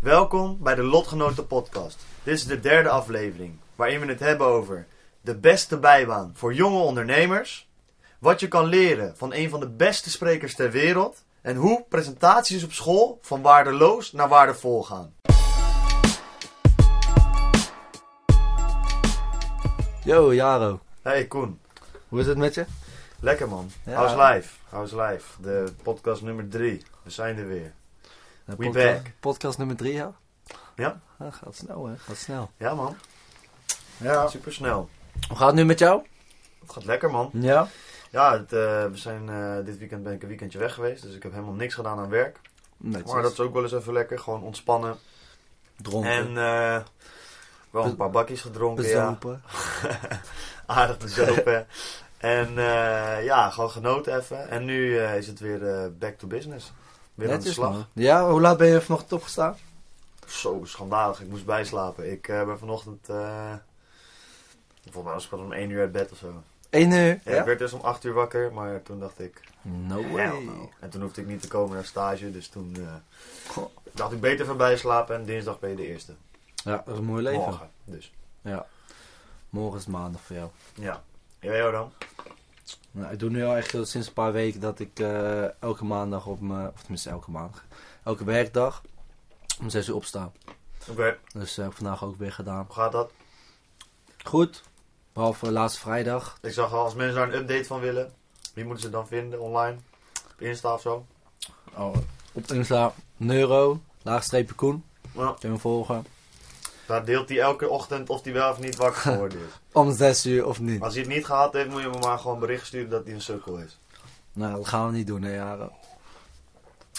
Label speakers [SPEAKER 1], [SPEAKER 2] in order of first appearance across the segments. [SPEAKER 1] Welkom bij de Lotgenoten Podcast. Dit is de derde aflevering, waarin we het hebben over de beste bijbaan voor jonge ondernemers, wat je kan leren van een van de beste sprekers ter wereld en hoe presentaties op school van waardeloos naar waardevol gaan.
[SPEAKER 2] Yo, Jaro.
[SPEAKER 1] Hey Koen,
[SPEAKER 2] Hoe is het met je?
[SPEAKER 1] lekker man.
[SPEAKER 2] Ja.
[SPEAKER 1] How's life? How's life? De podcast nummer 3. We zijn er weer.
[SPEAKER 2] We
[SPEAKER 1] back.
[SPEAKER 2] Podcast nummer drie, ja?
[SPEAKER 1] Ja.
[SPEAKER 2] Ah, gaat snel, hè? Gaat snel.
[SPEAKER 1] Ja man,
[SPEAKER 2] Ja.
[SPEAKER 1] super snel.
[SPEAKER 2] Hoe gaat het nu met jou?
[SPEAKER 1] Het gaat lekker man.
[SPEAKER 2] Ja.
[SPEAKER 1] Ja, het, eh, we zijn, eh, dit weekend ben ik een weekendje weg geweest, dus ik heb helemaal niks gedaan aan werk.
[SPEAKER 2] Netjes.
[SPEAKER 1] Maar dat is ook wel eens even lekker, gewoon ontspannen.
[SPEAKER 2] Dronken.
[SPEAKER 1] En eh, wel een
[SPEAKER 2] Be-
[SPEAKER 1] paar bakjes gedronken, ja.
[SPEAKER 2] Bezopen.
[SPEAKER 1] Aardig bezopen. en eh, ja, gewoon genoten even. En nu eh, is het weer eh, back to business. Weer aan de
[SPEAKER 2] Netjes,
[SPEAKER 1] slag.
[SPEAKER 2] man. Ja, hoe laat ben je vanochtend opgestaan?
[SPEAKER 1] Zo schandalig, ik moest bijslapen. Ik eh, ben vanochtend... eh volgens mij was ik al om 1 uur uit bed of zo.
[SPEAKER 2] 1 uur.
[SPEAKER 1] Ja, Ik werd dus om 8 uur wakker, maar toen dacht ik...
[SPEAKER 2] No
[SPEAKER 1] hell
[SPEAKER 2] way.
[SPEAKER 1] no. En toen hoefde ik niet te komen naar stage, dus toen eh,
[SPEAKER 2] Goh.
[SPEAKER 1] dacht ik beter van bijslapen. En dinsdag ben je de eerste.
[SPEAKER 2] Ja, dat is een mooi leven.
[SPEAKER 1] Morgen, dus.
[SPEAKER 2] Ja. Morgen is maandag voor jou.
[SPEAKER 1] Ja. Jij jou dan?
[SPEAKER 2] Nou, ik doe nu al echt eh, sinds een paar weken dat ik eh, elke maandag op mijn... Of tenminste, elke maandag. Elke werkdag om 6 uur opsta.
[SPEAKER 1] Oké,
[SPEAKER 2] Dus eh, heb ik vandaag ook weer gedaan.
[SPEAKER 1] hoe gaat dat?
[SPEAKER 2] Goed. Behalve laatste vrijdag.
[SPEAKER 1] Ik zag al, als mensen daar een update van willen, wie moeten ze dan vinden online? Op Insta of zo?
[SPEAKER 2] Oh, op Insta Neuro, laagstreepje Koen.
[SPEAKER 1] Nou,
[SPEAKER 2] Kun je me volgen.
[SPEAKER 1] daar deelt hij elke ochtend of hij wel of niet wakker geworden is.
[SPEAKER 2] Om 6 uur of niet.
[SPEAKER 1] Als hij het niet gehad heeft, moet je me maar gewoon een bericht sturen dat hij een sukkel is.
[SPEAKER 2] Nou, dat gaan we niet doen, hè, Jaren.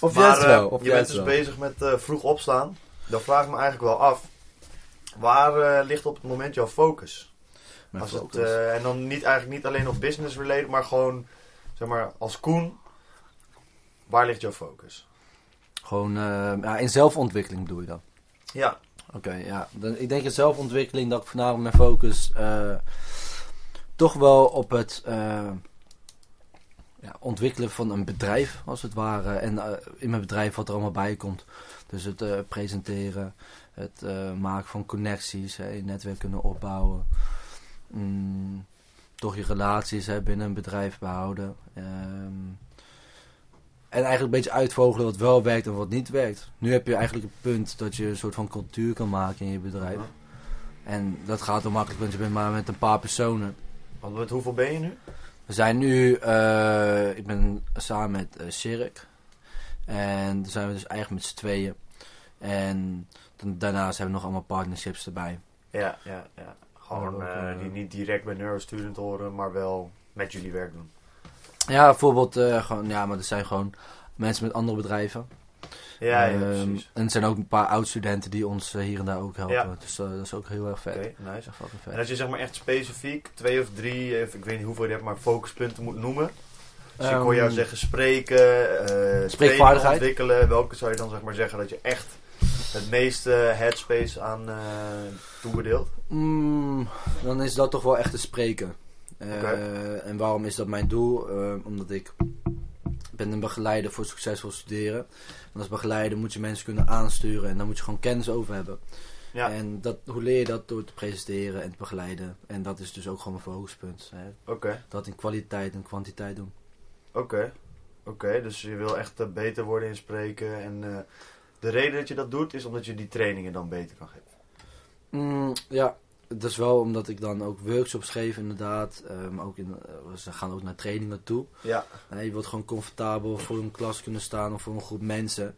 [SPEAKER 2] Of
[SPEAKER 1] maar
[SPEAKER 2] juist
[SPEAKER 1] eh,
[SPEAKER 2] wel. Of
[SPEAKER 1] je bent
[SPEAKER 2] juist
[SPEAKER 1] dus
[SPEAKER 2] wel.
[SPEAKER 1] bezig met eh, vroeg opstaan. Dan vraag ik me eigenlijk wel af, waar eh, ligt op het moment jouw focus?
[SPEAKER 2] Mijn
[SPEAKER 1] als
[SPEAKER 2] focus.
[SPEAKER 1] Het, eh, en dan niet, eigenlijk niet alleen op business related, maar gewoon, zeg maar, als Koen, waar ligt jouw focus?
[SPEAKER 2] Gewoon eh, ja, in zelfontwikkeling bedoel je dan.
[SPEAKER 1] Ja,
[SPEAKER 2] Oké, ja. Dan, ik denk in zelfontwikkeling dat ik vanavond mijn focus eh, toch wel op het eh, ja, ontwikkelen van een bedrijf, als het ware. En eh, in mijn bedrijf wat er allemaal bij komt. Dus het eh, presenteren, het eh, maken van connecties, hè, je netwerk kunnen opbouwen. Mm, toch je relaties hè, binnen een bedrijf behouden. Ehm, en eigenlijk een beetje uitvogelen wat wel werkt en wat niet werkt. Nu heb je eigenlijk het punt dat je een soort van cultuur kan maken in je bedrijf.
[SPEAKER 1] Mhm.
[SPEAKER 2] En dat gaat dan makkelijk, want je bent maar met een paar personen.
[SPEAKER 1] want met hoeveel ben je nu?
[SPEAKER 2] We zijn nu, eh, ik ben samen met eh Sirk. En dan zijn we dus eigenlijk met z'n tweeën. En dan- daarnaast hebben we nog allemaal partnerships erbij.
[SPEAKER 1] Ja, ja, ja. Gewoon
[SPEAKER 2] Ja, dat,
[SPEAKER 1] eh,
[SPEAKER 2] eh,
[SPEAKER 1] die niet direct bij Neurostudent horen, maar wel met jullie werk doen.
[SPEAKER 2] Ja, bijvoorbeeld, eh, gewoon, ja, maar dat zijn gewoon mensen met andere bedrijven.
[SPEAKER 1] Ja, ja
[SPEAKER 2] Ehm,
[SPEAKER 1] precies.
[SPEAKER 2] En er zijn ook een paar oud-studenten die ons eh, hier en daar ook helpen.
[SPEAKER 1] Ja.
[SPEAKER 2] Dus eh, dat is ook heel erg vet.
[SPEAKER 1] Oké,
[SPEAKER 2] Dat is
[SPEAKER 1] nice.
[SPEAKER 2] echt fucking vet.
[SPEAKER 1] En als je zeg maar echt specifiek twee of drie, eh, ik weet niet hoeveel je hebt, maar focuspunten moet noemen. Dus ik hoor jou
[SPEAKER 2] Ehm,
[SPEAKER 1] zeggen spreken, eh, spelen
[SPEAKER 2] Spreekvaardigheid.
[SPEAKER 1] ontwikkelen. Welke zou je dan zeg maar zeggen dat je echt het meeste headspace aan eh toebedeelt?
[SPEAKER 2] Mm, dan is dat toch wel echt te spreken. Eh, En waarom is dat mijn doel? Eh, omdat ik ben een begeleider voor succesvol studeren. En als begeleider moet je mensen kunnen aansturen en daar moet je gewoon kennis over hebben.
[SPEAKER 1] Ja.
[SPEAKER 2] En dat, hoe leer je dat? Door te presenteren en te begeleiden. En dat is dus ook gewoon mijn focuspunt. Hè?
[SPEAKER 1] Oké,
[SPEAKER 2] Dat in kwaliteit en kwantiteit doen.
[SPEAKER 1] oké. Oké, dus je wil echt eh, beter worden in spreken. En eh, de reden dat je dat doet is omdat je die trainingen dan beter kan geven.
[SPEAKER 2] Mm, ja, dat is wel omdat ik dan ook workshops geef inderdaad. Eh, maar ook in, eh, ze gaan ook naar trainingen toe.
[SPEAKER 1] Ja,
[SPEAKER 2] Nee, Eh, je wilt gewoon comfortabel voor een klas kunnen staan of voor een groep mensen.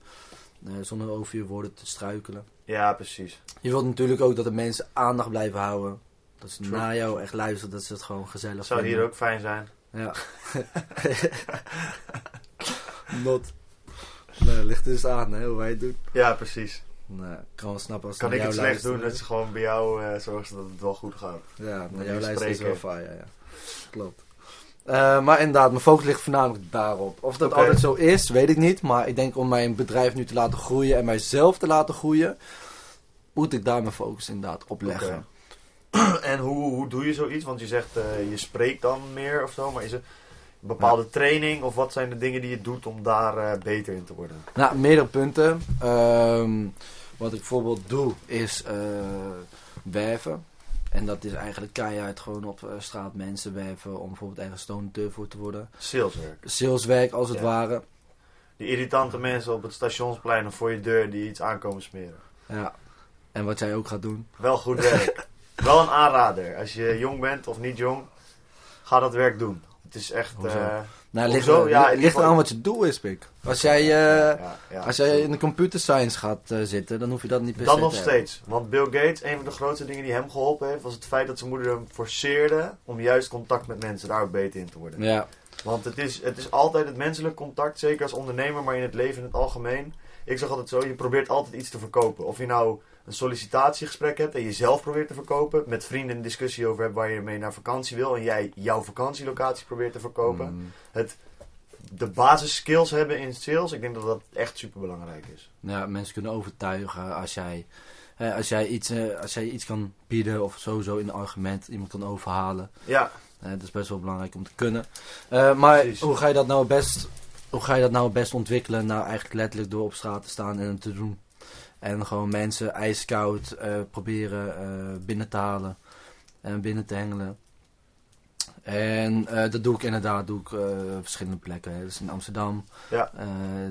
[SPEAKER 2] eh, zonder over je woorden te struikelen.
[SPEAKER 1] ja precies.
[SPEAKER 2] Je wilt natuurlijk ook dat de mensen aandacht blijven houden. Dat ze
[SPEAKER 1] True.
[SPEAKER 2] naar jou echt luisteren, dat ze het gewoon gezellig
[SPEAKER 1] Dat zou hier
[SPEAKER 2] vinden.
[SPEAKER 1] ook fijn zijn.
[SPEAKER 2] Ja. Not. Nee, ligt dus aan hè, hoe wij het doen.
[SPEAKER 1] Ja, precies.
[SPEAKER 2] Nou, ik kan wel snappen als
[SPEAKER 1] Kan
[SPEAKER 2] naar
[SPEAKER 1] ik het
[SPEAKER 2] jou
[SPEAKER 1] slecht doen,
[SPEAKER 2] luisteren.
[SPEAKER 1] dat ze gewoon bij jou eh, zorgen ze dat het wel goed gaat.
[SPEAKER 2] Ja, naar
[SPEAKER 1] je
[SPEAKER 2] jouw lijst is wel
[SPEAKER 1] spreken.
[SPEAKER 2] fijn, ja, ja. Klopt. Eh, maar inderdaad, mijn focus ligt voornamelijk daarop. Of dat
[SPEAKER 1] Oké.
[SPEAKER 2] altijd zo is, weet ik niet. Maar ik denk om mijn bedrijf nu te laten groeien en mijzelf te laten groeien, moet ik daar mijn focus inderdaad op leggen.
[SPEAKER 1] en hoe, hoe doe je zoiets? Want je zegt, eh, je spreekt dan meer of zo, maar is het een bepaalde training of wat zijn de dingen die je doet om daar eh, beter in te worden?
[SPEAKER 2] Nou, meerdere punten. Ehm, wat ik bijvoorbeeld doe is eh, werven. En dat is eigenlijk keihard gewoon op eh, straat mensen werven om bijvoorbeeld ergens donateur voor te worden.
[SPEAKER 1] Saleswerk.
[SPEAKER 2] Saleswerk als het
[SPEAKER 1] Ja.
[SPEAKER 2] ware.
[SPEAKER 1] Die irritante mensen op het stationsplein of voor je deur die iets aankomen smeren.
[SPEAKER 2] Ja. En wat jij ook gaat doen.
[SPEAKER 1] Wel goed werk. wel een aanrader. Als je jong bent of niet jong, ga dat werk doen. Het is echt...
[SPEAKER 2] Hoezo?
[SPEAKER 1] eh,
[SPEAKER 2] Nou, ligt,
[SPEAKER 1] Hoezo? Ja,
[SPEAKER 2] ligt,
[SPEAKER 1] ik
[SPEAKER 2] ligt
[SPEAKER 1] vond-
[SPEAKER 2] eraan wat je doel is, Pik. Als jij, eh,
[SPEAKER 1] ja, ja.
[SPEAKER 2] als jij in de computer science gaat eh, zitten, dan hoef je dat niet per se
[SPEAKER 1] Dan
[SPEAKER 2] te
[SPEAKER 1] nog
[SPEAKER 2] hebben.
[SPEAKER 1] steeds. Want Bill Gates, een van de grootste dingen die hem geholpen heeft, was het feit dat zijn moeder hem forceerde om juist contact met mensen daar ook beter in te worden.
[SPEAKER 2] Ja,
[SPEAKER 1] Want het is, het is altijd het menselijk contact, zeker als ondernemer, maar in het leven in het algemeen. Ik zeg altijd zo, je probeert altijd iets te verkopen. Of je nou een sollicitatiegesprek hebt en jezelf probeert te verkopen. Met vrienden een discussie over hebt waar je mee naar vakantie wil. En jij jouw vakantielocatie probeert te verkopen.
[SPEAKER 2] Mm,
[SPEAKER 1] De basisskills hebben in sales, ik denk dat dat echt super belangrijk is.
[SPEAKER 2] ja, mensen kunnen overtuigen als jij, eh, als, jij iets, eh, als jij iets kan bieden of sowieso in een argument iemand kan overhalen.
[SPEAKER 1] Ja,
[SPEAKER 2] Eh, dat is best wel belangrijk om te kunnen. Eh, maar
[SPEAKER 1] Precies.
[SPEAKER 2] hoe ga je dat nou het best... Hoe ga je dat nou het best ontwikkelen? Nou, eigenlijk letterlijk door op straat te staan en het te doen. En gewoon mensen ijskoud eh, proberen eh, binnen te halen. En binnen te hengelen. En eh, dat doe ik inderdaad doe ik, eh, op verschillende plekken. Hè. Dat is in Amsterdam.
[SPEAKER 1] Ja.
[SPEAKER 2] Eh,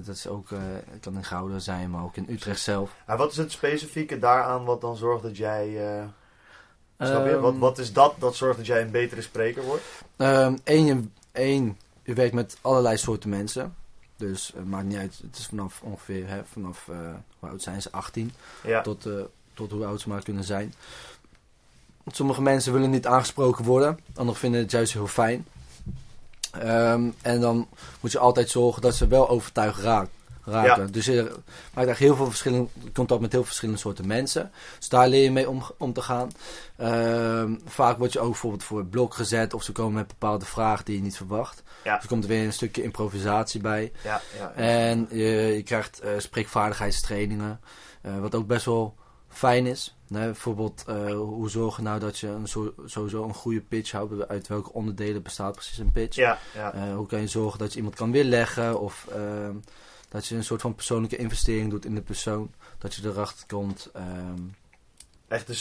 [SPEAKER 2] dat is ook, eh, het kan in Gouda zijn, maar ook in Utrecht zelf.
[SPEAKER 1] en wat is het specifieke daaraan wat dan zorgt dat jij... eh, Snap je?
[SPEAKER 2] Ehm,
[SPEAKER 1] Wat, wat is dat dat zorgt dat jij een betere spreker wordt?
[SPEAKER 2] Eén, je- Ehm, één, u werkt met allerlei soorten mensen. Dus het maakt niet uit. Het is vanaf ongeveer, hè, vanaf eh, hoe oud zijn ze? 18.
[SPEAKER 1] Ja,
[SPEAKER 2] Tot, eh, tot hoe oud ze maar kunnen zijn. Sommige mensen willen niet aangesproken worden. Anderen vinden het juist heel fijn. Ehm, en dan moet je altijd zorgen dat ze wel overtuigd raak- raken. Dus je maakt eigenlijk heel veel verschillende contact met heel veel verschillende soorten mensen. Dus daar leer je mee om, om te gaan. Ehm, vaak word je ook bijvoorbeeld voor het blok gezet of ze komen met bepaalde vragen die je niet verwacht.
[SPEAKER 1] Ja.
[SPEAKER 2] Dus er komt weer een stukje improvisatie bij.
[SPEAKER 1] ja, ja.
[SPEAKER 2] En je, je krijgt eh, spreekvaardigheidstrainingen, eh, wat ook best wel fijn is. Hè, bijvoorbeeld, eh, hoe zorg je nou dat je een, zo- sowieso een goede pitch houdt? Uit welke onderdelen bestaat precies een pitch?
[SPEAKER 1] ja, ja.
[SPEAKER 2] Eh, hoe kan je zorgen dat je iemand kan weerleggen? Of ehm, dat je een soort van persoonlijke investering doet in de persoon. Dat je erachter komt. ehm,
[SPEAKER 1] Echt de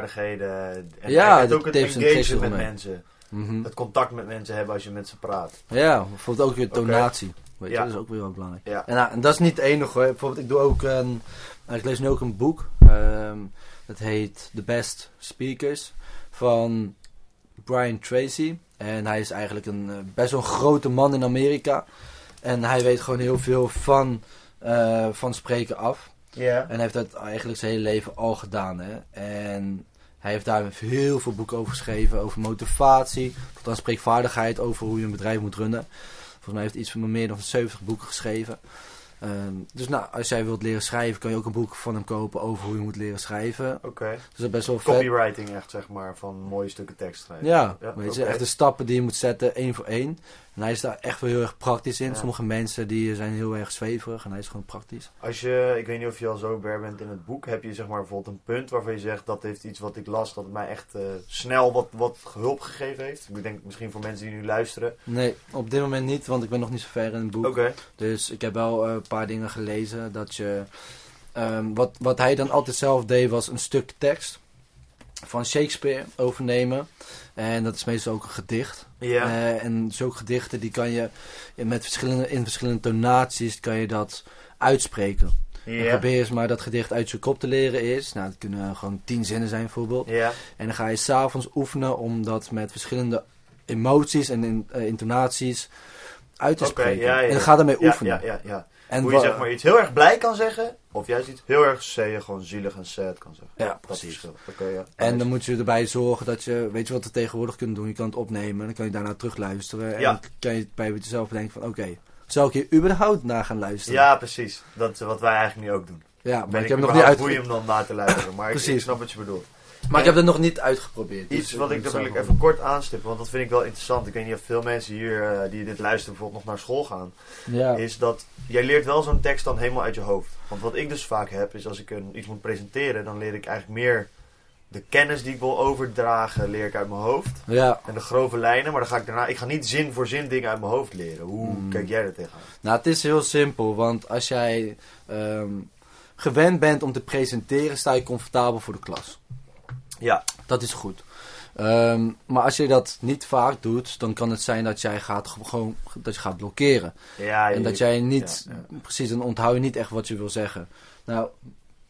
[SPEAKER 1] spreekvaardigheden. En
[SPEAKER 2] Ja,
[SPEAKER 1] echt
[SPEAKER 2] de
[SPEAKER 1] ook het
[SPEAKER 2] tips en tricks
[SPEAKER 1] engagement met
[SPEAKER 2] eromheen.
[SPEAKER 1] mensen.
[SPEAKER 2] mhm.
[SPEAKER 1] Het contact met mensen hebben als je met ze praat.
[SPEAKER 2] Ja, bijvoorbeeld ook weer
[SPEAKER 1] Oké.
[SPEAKER 2] tonatie. Weet je,
[SPEAKER 1] Ja.
[SPEAKER 2] dat is ook weer wel belangrijk.
[SPEAKER 1] Ja.
[SPEAKER 2] En, nou, en dat is niet het enige hoor. Bijvoorbeeld, ik doe ook een, nou, ik lees nu ook een boek. ehm, dat heet The Best Speakers van Brian Tracy. En hij is eigenlijk een eh, best wel een grote man in Amerika. En hij weet gewoon heel veel van, eh, van spreken af.
[SPEAKER 1] Ja.
[SPEAKER 2] En hij heeft dat eigenlijk zijn hele leven al gedaan. Hè? En hij heeft daar heel veel boeken over geschreven. Over motivatie, tot aan spreekvaardigheid, over hoe je een bedrijf moet runnen. Volgens mij heeft hij iets van meer dan 70 boeken geschreven. Ehm, dus nou, als jij wilt leren schrijven, kan je ook een boek van hem kopen over hoe je moet leren schrijven.
[SPEAKER 1] Oké.
[SPEAKER 2] Dus dat is best wel vet.
[SPEAKER 1] Copywriting echt, zeg maar, van mooie stukken tekst schrijven.
[SPEAKER 2] Ja,
[SPEAKER 1] Ja,
[SPEAKER 2] weet je,
[SPEAKER 1] oké.
[SPEAKER 2] echt de stappen die je moet zetten, één voor één. En hij is daar echt wel heel erg praktisch in.
[SPEAKER 1] Ja.
[SPEAKER 2] Sommige mensen die zijn heel erg zweverig en hij is gewoon praktisch.
[SPEAKER 1] Als je, ik weet niet of je al zo ver bent in het boek, heb je zeg maar bijvoorbeeld een punt waarvan je zegt dat heeft iets wat ik las, dat het mij echt eh, snel wat, wat hulp gegeven heeft. Ik denk misschien voor mensen die nu luisteren.
[SPEAKER 2] Nee, op dit moment niet, want ik ben nog niet zo ver in het boek.
[SPEAKER 1] Oké.
[SPEAKER 2] Dus ik heb wel eh, een paar dingen gelezen dat je. ehm, wat, wat hij dan altijd zelf deed, was een stuk tekst van Shakespeare overnemen. En dat is meestal ook een gedicht.
[SPEAKER 1] Ja.
[SPEAKER 2] Eh, en zulke gedichten die kan je in- met verschillende, in verschillende tonaties kan je dat uitspreken. En
[SPEAKER 1] Ja.
[SPEAKER 2] Probeer eens maar dat gedicht uit zijn kop te leren is. Nou, dat kunnen gewoon tien zinnen zijn bijvoorbeeld.
[SPEAKER 1] Ja.
[SPEAKER 2] En dan ga je s'avonds oefenen om dat met verschillende emoties en in- eh, intonaties uit te
[SPEAKER 1] Oké,
[SPEAKER 2] spreken.
[SPEAKER 1] ja, ja,
[SPEAKER 2] En
[SPEAKER 1] ja.
[SPEAKER 2] ga daarmee
[SPEAKER 1] Ja,
[SPEAKER 2] oefenen.
[SPEAKER 1] ja, ja, ja.
[SPEAKER 2] En
[SPEAKER 1] Hoe je
[SPEAKER 2] wa-
[SPEAKER 1] zeg maar iets heel erg blij kan zeggen, of juist iets heel erg zee, gewoon zielig en sad kan zeggen.
[SPEAKER 2] Ja,
[SPEAKER 1] Dat is
[SPEAKER 2] precies.
[SPEAKER 1] het verschil. Oké, ja.
[SPEAKER 2] En dan moet je erbij zorgen dat je, weet je wat we tegenwoordig kunnen doen? Je kan het opnemen, dan kan je daarna terugluisteren. En
[SPEAKER 1] Ja.
[SPEAKER 2] dan kan je bij jezelf bedenken van, oké, Zou ik hier überhaupt naar gaan luisteren?
[SPEAKER 1] Ja, precies. Dat is wat wij eigenlijk nu ook doen.
[SPEAKER 2] Ja, maar
[SPEAKER 1] Ben
[SPEAKER 2] ik, heb nog niet
[SPEAKER 1] hoe je
[SPEAKER 2] uitge-
[SPEAKER 1] hem dan na te luisteren. Maar ik- ik,
[SPEAKER 2] Precies.
[SPEAKER 1] snap wat je bedoelt.
[SPEAKER 2] maar ik heb het nog niet uitgeprobeerd. dus
[SPEAKER 1] Iets wat ik
[SPEAKER 2] moet
[SPEAKER 1] daar wil ik
[SPEAKER 2] zelf
[SPEAKER 1] even kort aanstippen, want dat vind ik wel interessant. Ik weet niet of veel mensen hier eh, die dit luisteren bijvoorbeeld nog naar school gaan.
[SPEAKER 2] wel- Ja.
[SPEAKER 1] Is dat jij leert wel zo'n tekst dan helemaal uit je hoofd. Want wat ik dus vaak heb, is als ik een, iets moet presenteren, dan leer ik eigenlijk meer de kennis die ik wil overdragen, leer ik uit mijn hoofd.
[SPEAKER 2] ja.
[SPEAKER 1] En de grove lijnen, maar dan ga ik daarna. Ik ga niet zin voor zin dingen uit mijn hoofd leren. Hoe
[SPEAKER 2] Hmm.
[SPEAKER 1] kijk jij er tegenaan?
[SPEAKER 2] Nou, het is heel simpel, want als jij ehm, gewend bent om te presenteren, sta je comfortabel voor de klas.
[SPEAKER 1] Ja,
[SPEAKER 2] Dat is goed. Ehm, maar als je dat niet vaak doet, dan kan het zijn dat jij gaat ge- gewoon dat je gaat blokkeren.
[SPEAKER 1] ja
[SPEAKER 2] En
[SPEAKER 1] je-
[SPEAKER 2] dat jij niet,
[SPEAKER 1] ja,
[SPEAKER 2] precies, dan onthoud je niet echt wat je wil zeggen. Nou,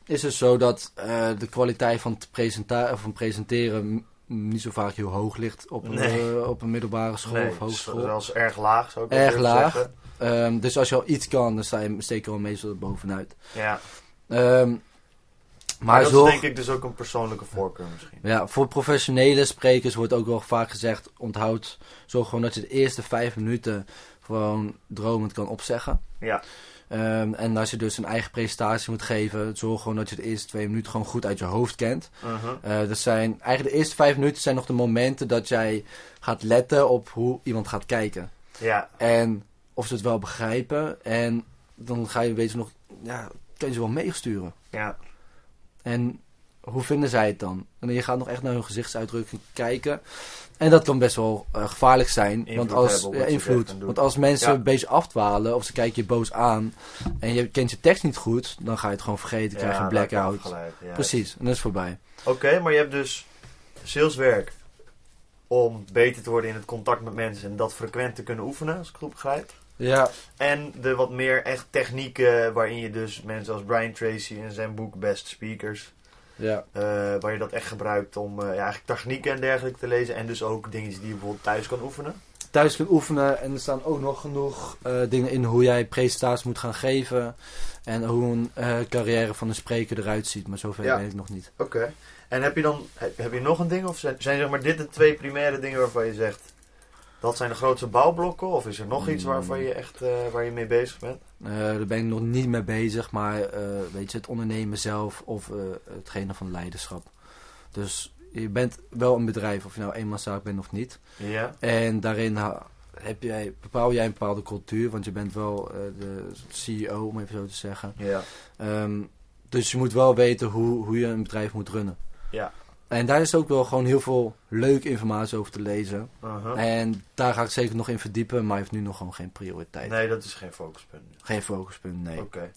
[SPEAKER 2] is het zo dat eh, de kwaliteit van, het presenta- van presenteren m- niet zo vaak heel hoog ligt op een,
[SPEAKER 1] Nee.
[SPEAKER 2] eh, op een middelbare school
[SPEAKER 1] Nee,
[SPEAKER 2] of hogeschool?
[SPEAKER 1] zelfs erg laag zou ik
[SPEAKER 2] Erg
[SPEAKER 1] willen
[SPEAKER 2] laag.
[SPEAKER 1] zeggen.
[SPEAKER 2] Ehm, dus als je al iets kan, dan sta je zeker wel meestal er bovenuit.
[SPEAKER 1] Ja.
[SPEAKER 2] Ehm,
[SPEAKER 1] Maar
[SPEAKER 2] maar
[SPEAKER 1] dat
[SPEAKER 2] zorg,
[SPEAKER 1] is denk ik dus ook een persoonlijke voorkeur misschien.
[SPEAKER 2] ja, voor professionele sprekers wordt ook wel vaak gezegd: onthoud, zorg gewoon dat je de eerste vijf minuten gewoon dromend kan opzeggen.
[SPEAKER 1] Ja,
[SPEAKER 2] Ehm, en als je dus een eigen presentatie moet geven, zorg gewoon dat je de eerste twee minuten gewoon goed uit je hoofd kent.
[SPEAKER 1] mhm.
[SPEAKER 2] Eh, dat zijn, eigenlijk de eerste vijf minuten zijn nog de momenten dat jij gaat letten op hoe iemand gaat kijken.
[SPEAKER 1] ja,
[SPEAKER 2] En of ze het wel begrijpen. En dan ga je weten nog, ja, kun je ze wel meesturen.
[SPEAKER 1] ja.
[SPEAKER 2] En hoe vinden zij het dan? En je gaat nog echt naar hun gezichtsuitdrukking kijken. En dat kan best wel eh, gevaarlijk zijn.
[SPEAKER 1] Invloed
[SPEAKER 2] want als,
[SPEAKER 1] hebben op
[SPEAKER 2] ja,
[SPEAKER 1] wat ze zeggen
[SPEAKER 2] invloed.
[SPEAKER 1] en doen.
[SPEAKER 2] Want als mensen
[SPEAKER 1] Ja.
[SPEAKER 2] een beetje afdwalen of ze kijken je boos aan en je kent je tekst niet goed, dan ga je het gewoon vergeten, krijg je
[SPEAKER 1] ja,
[SPEAKER 2] een
[SPEAKER 1] dat kan
[SPEAKER 2] blackout.
[SPEAKER 1] afgeleid, ja.
[SPEAKER 2] Precies, en dat is voorbij.
[SPEAKER 1] Oké, maar je hebt dus saleswerk om beter te worden in het contact met mensen en dat frequent te kunnen oefenen, als ik het goed begrijp.
[SPEAKER 2] Ja,
[SPEAKER 1] En de wat meer echt technieken waarin je dus mensen als Brian Tracy en zijn boek Best Speakers
[SPEAKER 2] ja.
[SPEAKER 1] Eh, waar je dat echt gebruikt om eh, ja, eigenlijk technieken en dergelijke te lezen. En dus ook dingetjes die je bijvoorbeeld thuis kan oefenen.
[SPEAKER 2] thuis kunt oefenen. En er staan ook nog genoeg eh, dingen in hoe jij presentaties moet gaan geven. En hoe een eh, carrière van een spreker eruit ziet. Maar zover
[SPEAKER 1] Ja.
[SPEAKER 2] weet ik nog niet.
[SPEAKER 1] Oké. En heb je dan heb, heb je nog een ding? Of zijn, zijn zeg maar dit de twee primaire dingen waarvan je zegt... Dat zijn de grootste bouwblokken? Of is er nog iets
[SPEAKER 2] Mm.
[SPEAKER 1] waarvan je echt eh, waar je mee bezig bent?
[SPEAKER 2] Eh, daar ben ik nog niet mee bezig. Maar eh, weet je, het ondernemen zelf of eh, hetgene van leiderschap. Dus je bent wel een bedrijf, of je nou eenmanszaak bent of niet.
[SPEAKER 1] Ja.
[SPEAKER 2] En daarin ha- heb jij, bepaal jij een bepaalde cultuur. Want je bent wel eh, de CEO, om even zo te zeggen.
[SPEAKER 1] Ja.
[SPEAKER 2] Ehm, dus je moet wel weten hoe, hoe je een bedrijf moet runnen.
[SPEAKER 1] Ja.
[SPEAKER 2] En daar is ook wel gewoon heel veel leuke informatie over te lezen.
[SPEAKER 1] Uh-huh.
[SPEAKER 2] En daar ga ik zeker nog in verdiepen, maar heeft nu nog gewoon geen prioriteit.
[SPEAKER 1] Nee, dat is geen focuspunt.
[SPEAKER 2] Geen focuspunt, nee.
[SPEAKER 1] Oké.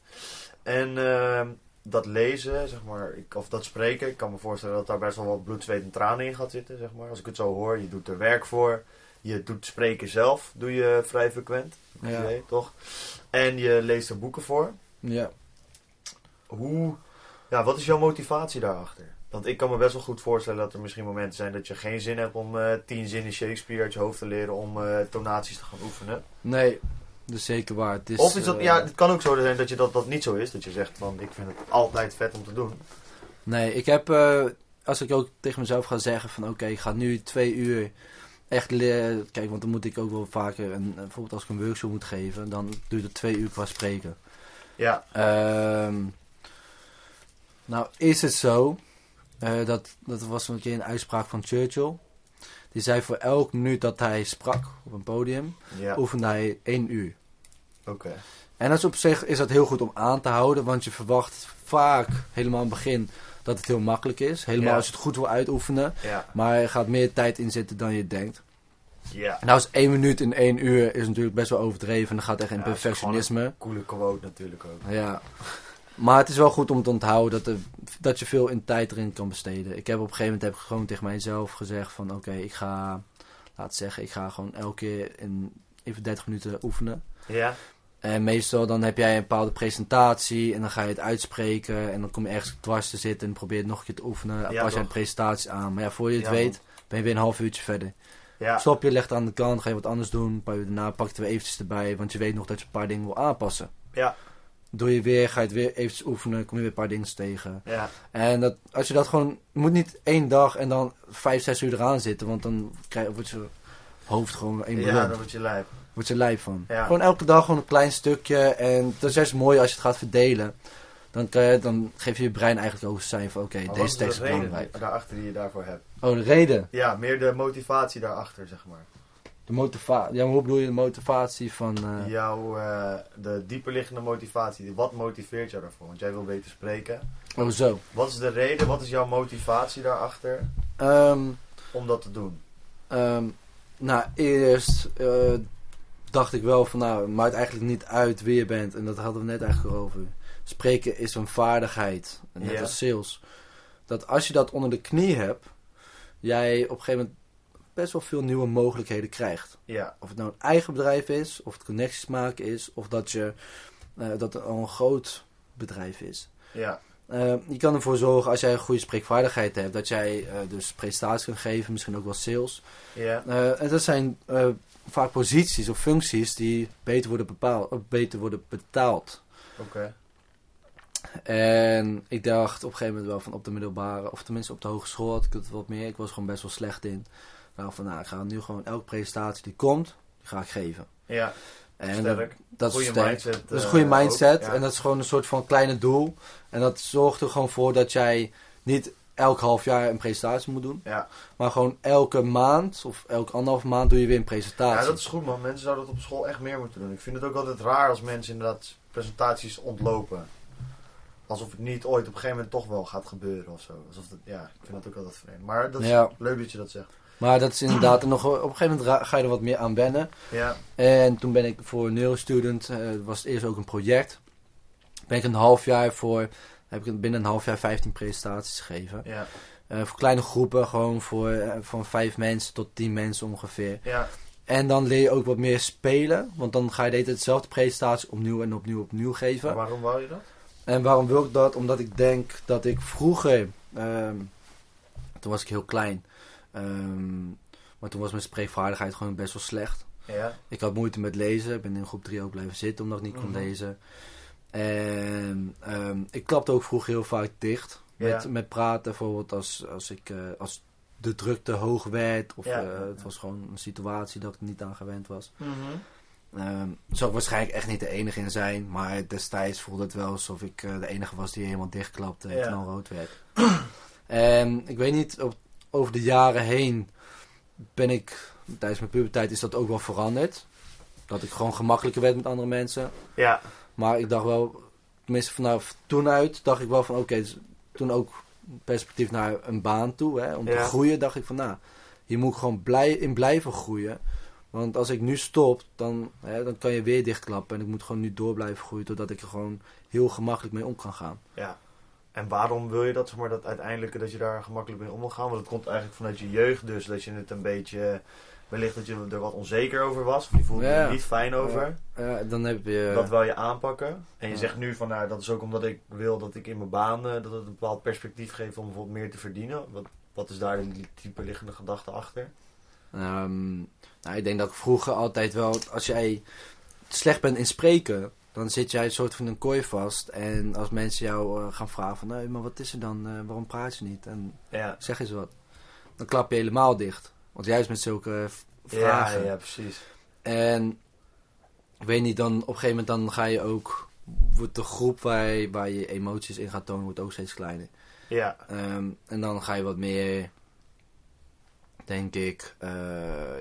[SPEAKER 1] En ehm, dat lezen, zeg maar, ik, of dat spreken, ik kan me voorstellen dat daar best wel wat bloed, zweet en tranen in gaat zitten, zeg maar. Als ik het zo hoor, je doet er werk voor, je doet spreken zelf, doe je vrij frequent,
[SPEAKER 2] Ja.
[SPEAKER 1] idee, toch? En je leest er boeken voor.
[SPEAKER 2] Ja.
[SPEAKER 1] Hoe, ja, wat is jouw motivatie daarachter? Want ik kan me best wel goed voorstellen dat er misschien momenten zijn dat je geen zin hebt om eh, tien zinnen Shakespeare uit je hoofd te leren om eh, tonaties te gaan oefenen.
[SPEAKER 2] Nee, dat is zeker waar. Het is,
[SPEAKER 1] of is dat,
[SPEAKER 2] eh,
[SPEAKER 1] ja, het kan ook zo zijn dat je dat, dat niet zo is, dat je zegt van ik vind het altijd vet om te doen.
[SPEAKER 2] Nee, ik heb, eh, als ik ook tegen mezelf ga zeggen van oké, ik ga nu twee uur echt leren. Kijk, want dan moet ik ook wel vaker, een, eh, bijvoorbeeld als ik een workshop moet geven, dan duurt het twee uur qua spreken.
[SPEAKER 1] Ja,
[SPEAKER 2] Ehm, nou, is het zo. eh, dat, dat was een keer een uitspraak van Churchill. Die zei voor elk minuut dat hij sprak op een podium,
[SPEAKER 1] ja, oké.
[SPEAKER 2] oefende hij één uur. En dat is op zich is dat heel goed om aan te houden, want je verwacht vaak helemaal aan het begin dat het heel makkelijk is. Helemaal
[SPEAKER 1] Ja.
[SPEAKER 2] als je het goed wil uitoefenen.
[SPEAKER 1] Ja,
[SPEAKER 2] Maar er gaat meer tijd in zitten dan je denkt.
[SPEAKER 1] ja.
[SPEAKER 2] En nou is één minuut in één uur is natuurlijk best wel overdreven. En dan gaat echt in
[SPEAKER 1] Ja, het is
[SPEAKER 2] perfectionisme.
[SPEAKER 1] Coole quote natuurlijk ook.
[SPEAKER 2] Ja. Maar het is wel goed om te onthouden dat, er, dat je veel in tijd erin kan besteden. Ik heb op een gegeven moment heb ik gewoon tegen mijzelf gezegd van... Oké, ik ga... Laat zeggen, ik ga gewoon elke keer in, even 30 minuten oefenen.
[SPEAKER 1] Ja,
[SPEAKER 2] En meestal dan heb jij een bepaalde presentatie en dan ga je het uitspreken. En dan kom je ergens dwars te zitten en probeer het nog een keer te oefenen. Dan
[SPEAKER 1] Ja,
[SPEAKER 2] pas je een
[SPEAKER 1] toch.
[SPEAKER 2] presentatie aan. Maar ja, voor je het
[SPEAKER 1] Ja,
[SPEAKER 2] weet ben je weer een half uurtje verder.
[SPEAKER 1] ja.
[SPEAKER 2] Stop je, leg het aan de kant, ga je wat anders doen. Een paar uur daarna pak je het weer eventjes erbij, want je weet nog dat je een paar dingen wil aanpassen.
[SPEAKER 1] Ja.
[SPEAKER 2] Doe je weer, ga je het weer eventjes oefenen, kom je weer een paar dingen tegen.
[SPEAKER 1] ja.
[SPEAKER 2] En dat, als je dat gewoon, je moet niet één dag en dan vijf, zes uur eraan zitten, want dan krijg, wordt je hoofd gewoon één
[SPEAKER 1] ja
[SPEAKER 2] ballon.
[SPEAKER 1] dat wordt je lijp.
[SPEAKER 2] Wordt ze lijp van.
[SPEAKER 1] Ja.
[SPEAKER 2] Gewoon elke dag gewoon een klein stukje. En dat is juist mooi als je het gaat verdelen. Dan, kan je, dan geef je je brein eigenlijk ook een zijn van oké,
[SPEAKER 1] Maar Oh, wat
[SPEAKER 2] deze
[SPEAKER 1] de
[SPEAKER 2] tekst is
[SPEAKER 1] reden
[SPEAKER 2] belangrijk.
[SPEAKER 1] daarachter die je daarvoor hebt.
[SPEAKER 2] Oh, de reden.
[SPEAKER 1] Ja, meer de motivatie daarachter, zeg maar.
[SPEAKER 2] De motivatie. Ja, maar hoe bedoel je de motivatie van... eh,
[SPEAKER 1] Jouw, eh, de dieperliggende motivatie. Wat motiveert jou daarvoor? Want jij wil beter spreken.
[SPEAKER 2] Oh, zo.
[SPEAKER 1] Wat is de reden? Wat is jouw motivatie daarachter
[SPEAKER 2] Ehm,
[SPEAKER 1] om dat te doen?
[SPEAKER 2] Ehm, nou, eerst eh, dacht ik wel van nou, het maakt eigenlijk niet uit wie je bent. En dat hadden we net eigenlijk al over. Spreken is een vaardigheid. Net
[SPEAKER 1] Ja.
[SPEAKER 2] als sales. Dat als je dat onder de knie hebt, jij op een gegeven moment best wel veel nieuwe mogelijkheden krijgt.
[SPEAKER 1] Ja,
[SPEAKER 2] Of het nou een eigen bedrijf is, of het connecties maken is, of dat, je, eh, dat het al een groot bedrijf is.
[SPEAKER 1] ja,
[SPEAKER 2] Eh, je kan ervoor zorgen als jij een goede spreekvaardigheid hebt, dat jij eh, dus presentaties kan geven, misschien ook wel sales.
[SPEAKER 1] ja.
[SPEAKER 2] Eh, en dat zijn eh, vaak posities of functies die beter worden, bepaald, of beter worden betaald.
[SPEAKER 1] Oké.
[SPEAKER 2] En ik dacht op een gegeven moment wel van op de middelbare, of tenminste op de hogeschool had ik het wat meer. Ik was gewoon best wel slecht in. Nou, van nou, ik ga nu gewoon elke presentatie die komt, die ga ik geven.
[SPEAKER 1] Ja,
[SPEAKER 2] En dat-
[SPEAKER 1] sterk.
[SPEAKER 2] dat is
[SPEAKER 1] Goede
[SPEAKER 2] sterk.
[SPEAKER 1] mindset.
[SPEAKER 2] Dat is een
[SPEAKER 1] eh,
[SPEAKER 2] goede
[SPEAKER 1] ook,
[SPEAKER 2] mindset.
[SPEAKER 1] ja.
[SPEAKER 2] En dat is gewoon een soort van kleine doel. En dat zorgt er gewoon voor dat jij niet elk half jaar een presentatie moet doen.
[SPEAKER 1] Ja.
[SPEAKER 2] Maar gewoon elke maand of elke anderhalf maand doe je weer een presentatie.
[SPEAKER 1] Ja, dat is goed man. Mensen zouden dat op school echt meer moeten doen. Ik vind het ook altijd raar als mensen inderdaad presentaties ontlopen. Alsof het niet ooit op een gegeven moment toch wel gaat gebeuren of zo. Alsof dat, ja, ik vind dat ook altijd vreemd. Maar dat is
[SPEAKER 2] Ja.
[SPEAKER 1] leuk dat je dat zegt.
[SPEAKER 2] Maar dat is inderdaad, en nog, op een gegeven moment ra- ga je er wat meer aan wennen.
[SPEAKER 1] Ja,
[SPEAKER 2] En toen ben ik voor Neurostudent, eh was het eerst ook een project. Ben ik een half jaar voor, heb ik binnen een half jaar 15 presentaties gegeven.
[SPEAKER 1] ja,
[SPEAKER 2] Eh, voor kleine groepen, gewoon voor, eh, van 5 mensen tot 10 mensen ongeveer.
[SPEAKER 1] ja,
[SPEAKER 2] En dan leer je ook wat meer spelen. Want dan ga je de hele tijd dezelfde presentatie opnieuw en opnieuw opnieuw geven.
[SPEAKER 1] Maar Waarom wou je dat?
[SPEAKER 2] En waarom wil ik dat? Omdat ik denk dat ik vroeger... ehm, toen was ik heel klein. ehm, maar toen was mijn spreekvaardigheid gewoon best wel slecht.
[SPEAKER 1] Ja,
[SPEAKER 2] Ik had moeite met lezen. Ik ben in groep 3 ook blijven zitten omdat ik niet kon
[SPEAKER 1] Mhm.
[SPEAKER 2] lezen. En ehm, ik klapte ook vroeger heel vaak dicht. Met,
[SPEAKER 1] Ja.
[SPEAKER 2] met praten bijvoorbeeld als, als, ik, eh, als de drukte hoog werd. Of
[SPEAKER 1] Ja.
[SPEAKER 2] eh, het was gewoon een situatie dat ik niet aan gewend was. Ehm zou ik waarschijnlijk echt niet de enige in zijn. Maar destijds voelde het wel alsof ik eh, de enige was die helemaal dichtklapte en
[SPEAKER 1] Ja.
[SPEAKER 2] knalrood werd. en ik weet niet, op, over de jaren heen ben ik, tijdens mijn puberteit is dat ook wel veranderd. Dat ik gewoon gemakkelijker werd met andere mensen.
[SPEAKER 1] ja,
[SPEAKER 2] Maar ik dacht wel, tenminste vanaf toen uit, dacht ik wel van oké, dus toen ook perspectief naar een baan toe, hè, om te
[SPEAKER 1] Ja.
[SPEAKER 2] groeien, dacht ik van nou, hier moet ik gewoon blij, in blijven groeien. Want als ik nu stop, dan, hè, dan kan je weer dichtklappen en ik moet gewoon nu door blijven groeien, totdat ik er gewoon heel gemakkelijk mee om kan gaan.
[SPEAKER 1] ja. En waarom wil je dat, zeg maar, dat uiteindelijke, dat je daar gemakkelijk mee om wil gaan? Want het komt eigenlijk vanuit je jeugd dus, dat je het een beetje, wellicht dat je er wat onzeker over was. Of je voelde
[SPEAKER 2] Ja.
[SPEAKER 1] er niet fijn over.
[SPEAKER 2] Eh, dan heb je...
[SPEAKER 1] Dat wil je aanpakken. En je
[SPEAKER 2] Ja.
[SPEAKER 1] zegt nu van nou, dat is ook omdat ik wil dat ik in mijn baan eh, dat het een bepaald perspectief geeft om bijvoorbeeld meer te verdienen. Wat, wat is daar de dieperliggende gedachte achter?
[SPEAKER 2] Ehm, nou, ik denk dat ik vroeger altijd wel, als jij slecht bent in spreken, dan zit jij een soort van een kooi vast. En als mensen jou eh, gaan vragen van, nee, maar wat is er dan? Eh, waarom praat je niet? En
[SPEAKER 1] Ja,
[SPEAKER 2] zeg eens wat. Dan klap je helemaal dicht. Want juist met zulke eh, v-
[SPEAKER 1] ja,
[SPEAKER 2] vragen.
[SPEAKER 1] ja precies.
[SPEAKER 2] En ik weet niet, dan op een gegeven moment dan ga je ook, wordt de groep waar je, waar je emoties in gaat tonen, wordt ook steeds kleiner.
[SPEAKER 1] Ja,
[SPEAKER 2] Ehm, en dan ga je wat meer, denk ik, eh,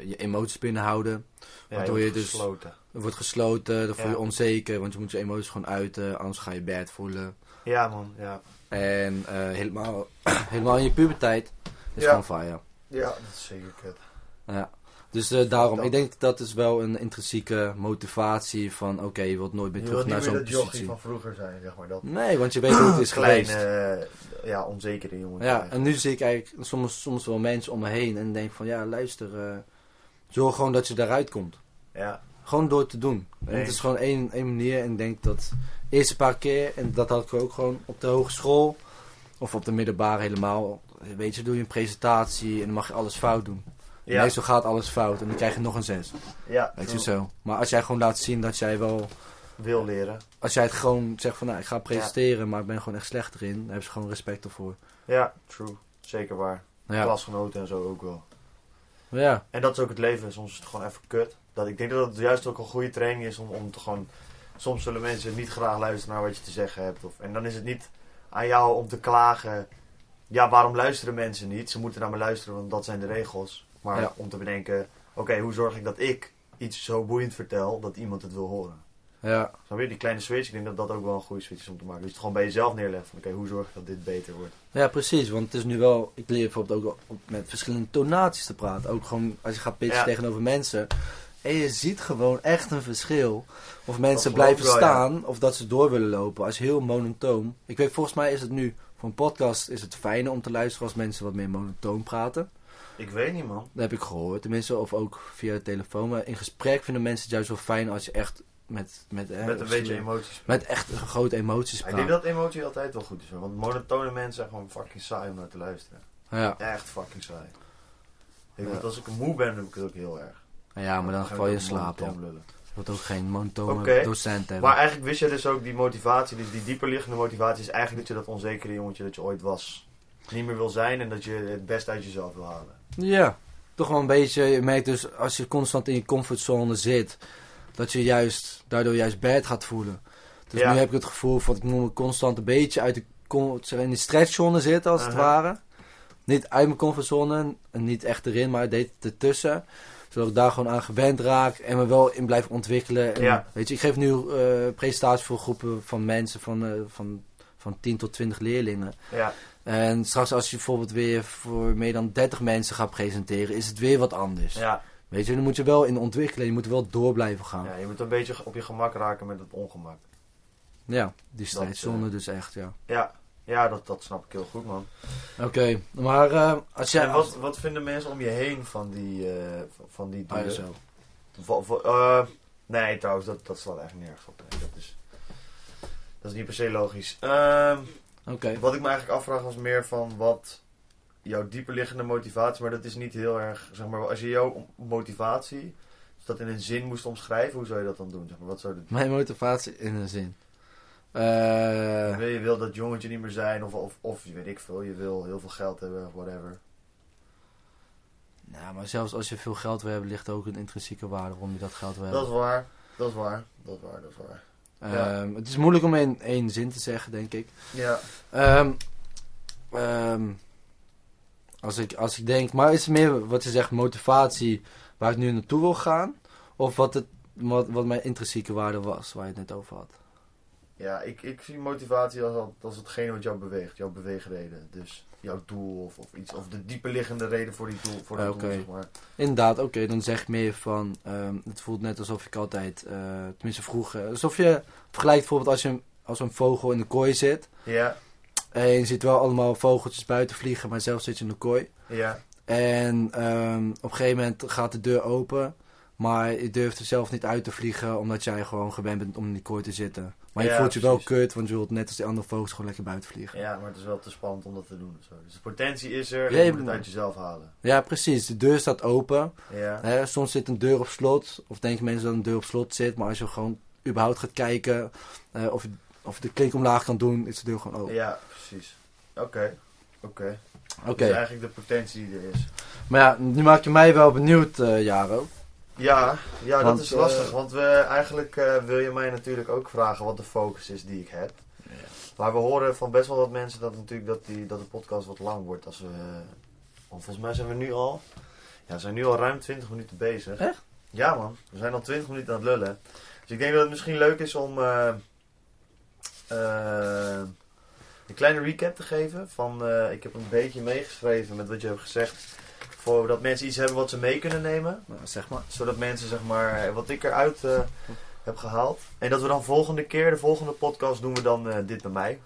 [SPEAKER 2] je emoties binnenhouden.
[SPEAKER 1] ja
[SPEAKER 2] Waardoor je
[SPEAKER 1] wordt
[SPEAKER 2] dus-
[SPEAKER 1] gesloten.
[SPEAKER 2] Er wordt gesloten, dan voel je
[SPEAKER 1] Ja.
[SPEAKER 2] onzeker, want je moet je emoties gewoon uiten, anders ga je bad voelen.
[SPEAKER 1] Ja man, ja.
[SPEAKER 2] En eh, helemaal, helemaal in je puberteit is
[SPEAKER 1] Ja.
[SPEAKER 2] gewoon fire.
[SPEAKER 1] Ja, dat is zeker kut.
[SPEAKER 2] Ja. Dus eh, daarom,
[SPEAKER 1] Dat-
[SPEAKER 2] ik denk dat is wel een intrinsieke motivatie van, oké, je wilt nooit
[SPEAKER 1] Je
[SPEAKER 2] meer
[SPEAKER 1] wilt
[SPEAKER 2] terug
[SPEAKER 1] niet
[SPEAKER 2] naar
[SPEAKER 1] meer
[SPEAKER 2] zo'n
[SPEAKER 1] dat jochie
[SPEAKER 2] positie.
[SPEAKER 1] van vroeger zijn, zeg maar. Dat
[SPEAKER 2] Nee, want je weet hoe het is
[SPEAKER 1] kleine,
[SPEAKER 2] geweest.
[SPEAKER 1] eh, ja, onzekere jongen.
[SPEAKER 2] Ja, en nu zie ik eigenlijk soms, soms wel mensen om me heen en denk van, ja, luister, eh, zorg gewoon dat je daaruit komt.
[SPEAKER 1] Ja,
[SPEAKER 2] Gewoon door te doen. En het
[SPEAKER 1] Eens.
[SPEAKER 2] is gewoon één, één manier. En ik denk dat de eerste paar keer, en dat had ik ook gewoon op de hogeschool of op de middelbare helemaal. Weet je, doe je een presentatie en dan mag je alles fout doen.
[SPEAKER 1] ja,
[SPEAKER 2] Meestal gaat alles fout en dan krijg je nog een zes.
[SPEAKER 1] ja
[SPEAKER 2] Weet je
[SPEAKER 1] true.
[SPEAKER 2] zo. Maar als jij gewoon laat zien dat jij wel.
[SPEAKER 1] wil leren.
[SPEAKER 2] Als jij het gewoon zegt van nou, ik ga presenteren, maar ik ben gewoon echt slecht erin, daar hebben ze gewoon respect voor.
[SPEAKER 1] Ja, true. Zeker waar.
[SPEAKER 2] Nou ja.
[SPEAKER 1] Klasgenoten en zo ook wel.
[SPEAKER 2] ja,
[SPEAKER 1] En dat is ook het leven. Soms is het gewoon even kut. Dat, ik denk dat het juist ook een goede training is om, om te gewoon... Soms zullen mensen niet graag luisteren naar wat je te zeggen hebt. Of, en dan is het niet aan jou om te klagen. Ja, waarom luisteren mensen niet? Ze moeten naar me luisteren, want dat zijn de regels. Maar
[SPEAKER 2] Ja.
[SPEAKER 1] om te bedenken, oké, hoe zorg ik dat ik iets zo boeiend vertel dat iemand het wil horen?
[SPEAKER 2] Ja,
[SPEAKER 1] Snap je? Die kleine switch, ik denk dat dat ook wel een goede switch is om te maken. Dus het gewoon bij jezelf neerleggen van oké, hoe zorg ik dat dit beter wordt?
[SPEAKER 2] ja precies. Want het is nu wel... Ik leer bijvoorbeeld ook wel op, met verschillende tonaties te praten. Ook gewoon als je gaat pitchen
[SPEAKER 1] Ja.
[SPEAKER 2] tegenover mensen. En je ziet gewoon echt een verschil. Of mensen
[SPEAKER 1] geloof ik
[SPEAKER 2] blijven
[SPEAKER 1] wel, ja.
[SPEAKER 2] staan of dat ze door willen lopen. Als heel monotoom. Ik weet, volgens mij is het nu... Voor een podcast is het fijner om te luisteren als mensen wat meer monotoom praten.
[SPEAKER 1] Ik weet niet man.
[SPEAKER 2] Dat heb ik gehoord, tenminste, of ook via de telefoon. Maar in gesprek vinden mensen het juist wel fijn als je echt met... Met, hè,
[SPEAKER 1] Met een beetje
[SPEAKER 2] verschillende-
[SPEAKER 1] emoties.
[SPEAKER 2] Met echt grote emoties praat.
[SPEAKER 1] Ik denk dat emotie altijd wel goed is. hoor. Want monotone mensen zijn gewoon fucking saai om naar te luisteren.
[SPEAKER 2] Ja.
[SPEAKER 1] Echt fucking saai. Ik,
[SPEAKER 2] Ja.
[SPEAKER 1] want als ik moe ben, heb ik het ook heel erg.
[SPEAKER 2] ja, maar dan
[SPEAKER 1] ga ik
[SPEAKER 2] val je
[SPEAKER 1] ook
[SPEAKER 2] in slaap.
[SPEAKER 1] monotoon
[SPEAKER 2] Ja.
[SPEAKER 1] lullen.
[SPEAKER 2] Je wilt ook geen monotone
[SPEAKER 1] Oké.
[SPEAKER 2] docent hebben.
[SPEAKER 1] Maar eigenlijk wist je dus ook die motivatie, dus die dieperliggende motivatie is eigenlijk dat je dat onzekere jongetje dat je ooit was niet meer wil zijn en dat je het best uit jezelf wil halen.
[SPEAKER 2] Ja, toch wel een beetje. Je merkt dus als je constant in je comfortzone zit, dat je juist daardoor juist bad gaat voelen. Dus
[SPEAKER 1] Ja.
[SPEAKER 2] nu heb ik het gevoel van ik moet me constant een beetje uit de, com- zeg, in de stretchzone zitten, als het
[SPEAKER 1] Uh-huh.
[SPEAKER 2] ware. Niet uit mijn comfortzone, en niet echt erin, maar deed het ertussen. Zodat ik daar gewoon aan gewend raak en me wel in blijf ontwikkelen. En,
[SPEAKER 1] Ja.
[SPEAKER 2] Weet je, ik geef nu eh presentaties voor groepen van mensen van, eh, van, van 10 tot 20 leerlingen.
[SPEAKER 1] Ja,
[SPEAKER 2] En straks als je bijvoorbeeld weer voor meer dan 30 mensen gaat presenteren, is het weer wat anders.
[SPEAKER 1] ja.
[SPEAKER 2] Weet je, dan moet je wel in ontwikkelen, je moet wel door blijven gaan.
[SPEAKER 1] ja
[SPEAKER 2] Ja,
[SPEAKER 1] je moet een beetje op je gemak raken met het ongemak.
[SPEAKER 2] die
[SPEAKER 1] Dat, eh,
[SPEAKER 2] strijdzone dus echt, ja.
[SPEAKER 1] Ja, ja dat, dat snap ik heel goed man.
[SPEAKER 2] Oké, maar eh, als jij...
[SPEAKER 1] en wat, wat vinden mensen om je heen van die, eh, van- van die
[SPEAKER 2] Ah, ja,
[SPEAKER 1] doelen?
[SPEAKER 2] zo.
[SPEAKER 1] Va- va- eh, nee, trouwens, dat, dat slaat eigenlijk nergens op. Nee, dat, is, dat is niet per se logisch. Ehm,
[SPEAKER 2] Oké,
[SPEAKER 1] Wat ik me eigenlijk afvraag was meer van wat jouw dieperliggende motivatie, maar dat is niet heel erg, zeg maar, als je jouw motivatie, als dat in een zin moest omschrijven, hoe zou je dat dan doen? Zeg maar, wat zou de,
[SPEAKER 2] mijn motivatie in een zin. Eh,
[SPEAKER 1] wil je wil dat jongetje niet meer zijn, of, of, of weet ik veel, je wil heel veel geld hebben, of whatever.
[SPEAKER 2] nou, maar zelfs als je veel geld wil hebben, ligt er ook een intrinsieke waarde waarom je dat geld wil
[SPEAKER 1] Dat
[SPEAKER 2] hebben.
[SPEAKER 1] is waar, dat is waar, dat is waar, dat is waar. ja.
[SPEAKER 2] Ehm, het is moeilijk om in één zin te zeggen, denk ik.
[SPEAKER 1] Ja,
[SPEAKER 2] Ehm, ehm, als, ik, als ik denk, maar is het meer wat je zegt, motivatie waar ik nu naartoe wil gaan? Of wat, het, wat, wat mijn intrinsieke waarde was, waar je het net over had?
[SPEAKER 1] ja ik, ik zie motivatie als, als hetgene wat jou beweegt, jouw beweegreden, dus jouw doel of, of iets, of de dieperliggende reden voor die doel, voor dat
[SPEAKER 2] Eh, oké.
[SPEAKER 1] doel, zeg maar.
[SPEAKER 2] Inderdaad, oké, dan zeg ik meer van, ehm, het voelt net alsof ik altijd, eh, tenminste vroeger, alsof je vergelijkt bijvoorbeeld als, je, als een vogel in de kooi zit.
[SPEAKER 1] Ja,
[SPEAKER 2] En je ziet wel allemaal vogeltjes buiten vliegen, maar zelf zit je in de kooi.
[SPEAKER 1] ja,
[SPEAKER 2] En ehm, op een gegeven moment gaat de deur open. Maar je durft er zelf niet uit te vliegen. Omdat jij gewoon gewend bent om in die kooi te zitten. Maar je
[SPEAKER 1] Ja,
[SPEAKER 2] voelt je wel
[SPEAKER 1] precies.
[SPEAKER 2] kut. Want je wilt net als die andere vogels gewoon lekker buiten vliegen. Ja,
[SPEAKER 1] Ja, maar het is wel te spannend om dat te doen. of Zo. Dus de potentie is er,
[SPEAKER 2] Ja,
[SPEAKER 1] en
[SPEAKER 2] je
[SPEAKER 1] je moet het
[SPEAKER 2] moet-
[SPEAKER 1] uit jezelf halen.
[SPEAKER 2] precies. De deur staat open.
[SPEAKER 1] Ja,
[SPEAKER 2] Hè, soms zit een deur op slot. Of denken mensen dat een deur op slot zit. Maar als je gewoon überhaupt gaat kijken. eh, of, je, of je de klink omlaag kan doen. Is de deur gewoon open.
[SPEAKER 1] ja precies. Oké, oké.
[SPEAKER 2] Oké.
[SPEAKER 1] Dat is eigenlijk de potentie die er is.
[SPEAKER 2] Maar ja, nu maak je mij wel benieuwd, eh Jaro.
[SPEAKER 1] Ja, ja
[SPEAKER 2] Want,
[SPEAKER 1] dat is lastig.
[SPEAKER 2] eh,
[SPEAKER 1] Want we, eigenlijk eh, wil je mij natuurlijk ook vragen wat de focus is die ik heb. Maar we horen van best wel wat mensen dat, natuurlijk dat, die, dat de podcast wat lang wordt. Als we, want volgens mij zijn we nu al... Ja, we zijn nu al ruim 20 minuten bezig.
[SPEAKER 2] Echt?
[SPEAKER 1] Ja man, we zijn al 20 minuten aan het lullen. Dus ik denk dat het misschien leuk is om eh, eh, een kleine recap te geven. Van, eh, ik heb een beetje meegeschreven met wat je hebt gezegd. Voordat mensen iets hebben wat ze mee kunnen nemen
[SPEAKER 2] Nou, zeg maar.
[SPEAKER 1] zodat mensen zeg maar eh, wat ik eruit eh, heb gehaald. En dat we dan volgende keer, de volgende podcast, doen we dan eh, dit bij mij.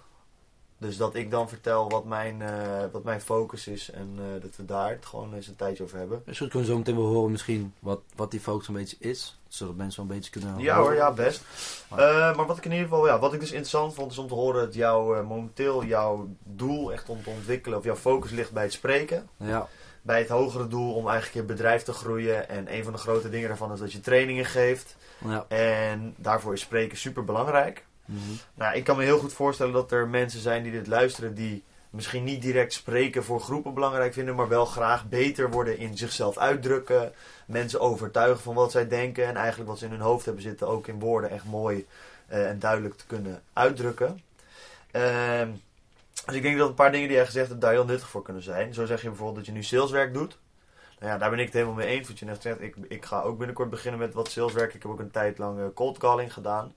[SPEAKER 1] Dus dat ik dan vertel wat mijn, eh, wat mijn focus is en eh, dat we daar het gewoon eens een tijdje over hebben.
[SPEAKER 2] Dus goed kunnen we zo meteen wel horen misschien wat, wat die focus een beetje is. Zodat mensen wel een beetje kunnen
[SPEAKER 1] Ja hoor, ja best. Eh, maar wat ik in ieder geval, ja, wat ik dus interessant vond is om te horen dat jouw, eh, momenteel jouw doel echt om te ontwikkelen of jouw focus ligt bij het spreken.
[SPEAKER 2] Ja,
[SPEAKER 1] bij het hogere doel om eigenlijk je bedrijf te groeien. En een van de grote dingen daarvan is dat je trainingen geeft.
[SPEAKER 2] ja.
[SPEAKER 1] En daarvoor is spreken super belangrijk.
[SPEAKER 2] Mhm.
[SPEAKER 1] Nou, ik kan me heel goed voorstellen dat er mensen zijn die dit luisteren die misschien niet direct spreken voor groepen belangrijk vinden, maar wel graag beter worden in zichzelf uitdrukken. Mensen overtuigen van wat zij denken en eigenlijk wat ze in hun hoofd hebben zitten ook in woorden echt mooi eh, en duidelijk te kunnen uitdrukken. Ehm, dus ik denk dat een paar dingen die jij gezegd hebt daar heel nuttig voor kunnen zijn. Zo zeg je bijvoorbeeld dat je nu saleswerk doet. Nou ja, daar ben ik het helemaal mee eens. Wat je net zegt, ik, ik ga ook binnenkort beginnen met wat saleswerk. Ik heb ook een tijd lang eh, cold calling gedaan.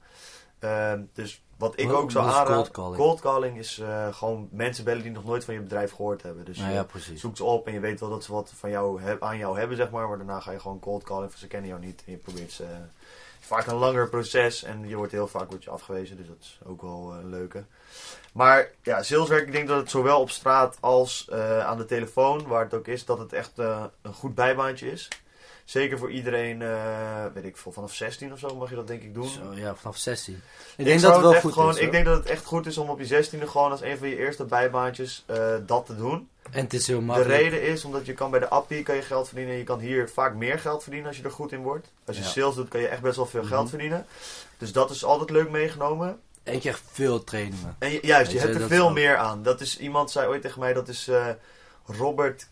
[SPEAKER 1] Ehm, dus wat ik
[SPEAKER 2] Wat-
[SPEAKER 1] ook zou
[SPEAKER 2] wat is
[SPEAKER 1] aanraden...
[SPEAKER 2] Oh, cold calling?
[SPEAKER 1] cold calling is eh, gewoon mensen bellen die nog nooit van je bedrijf gehoord hebben. Dus
[SPEAKER 2] Nou
[SPEAKER 1] je
[SPEAKER 2] ja, precies.
[SPEAKER 1] zoekt ze op en je weet wel dat ze wat van jou heb- aan jou hebben, zeg maar. Maar daarna ga je gewoon cold calling, van ze kennen jou niet. En je probeert ze... eh, vaak een langer proces en je wordt heel vaak wordt je afgewezen. Dus dat is ook wel eh, een leuke. Maar ja, saleswerk, ik denk dat het zowel op straat als eh, aan de telefoon, waar het ook is, dat het echt eh, een goed bijbaantje is. Zeker voor iedereen, eh, weet ik veel, vanaf 16 of zo mag je dat denk ik doen.
[SPEAKER 2] Zo, ja, vanaf 16. Ik,
[SPEAKER 1] Ik
[SPEAKER 2] denk
[SPEAKER 1] zou
[SPEAKER 2] dat het wel
[SPEAKER 1] echt
[SPEAKER 2] goed
[SPEAKER 1] gewoon,
[SPEAKER 2] is.
[SPEAKER 1] Ik
[SPEAKER 2] hoor.
[SPEAKER 1] denk dat het echt goed is om op je 16e gewoon als een van je eerste bijbaantjes eh, dat te doen.
[SPEAKER 2] En het is heel
[SPEAKER 1] De
[SPEAKER 2] makkelijk.
[SPEAKER 1] reden is omdat je kan bij de appie kan je geld verdienen. Je kan hier vaak meer geld verdienen als je er goed in wordt. Als je
[SPEAKER 2] Ja.
[SPEAKER 1] sales doet, kan je echt best wel veel geld
[SPEAKER 2] Mhm.
[SPEAKER 1] verdienen. Dus dat is altijd leuk meegenomen.
[SPEAKER 2] En je krijgt veel trainingen.
[SPEAKER 1] En ju- juist, je
[SPEAKER 2] Weet je,
[SPEAKER 1] hebt er
[SPEAKER 2] dat
[SPEAKER 1] veel
[SPEAKER 2] ook.
[SPEAKER 1] meer aan. Dat is, iemand zei ooit tegen mij, dat is eh, Robert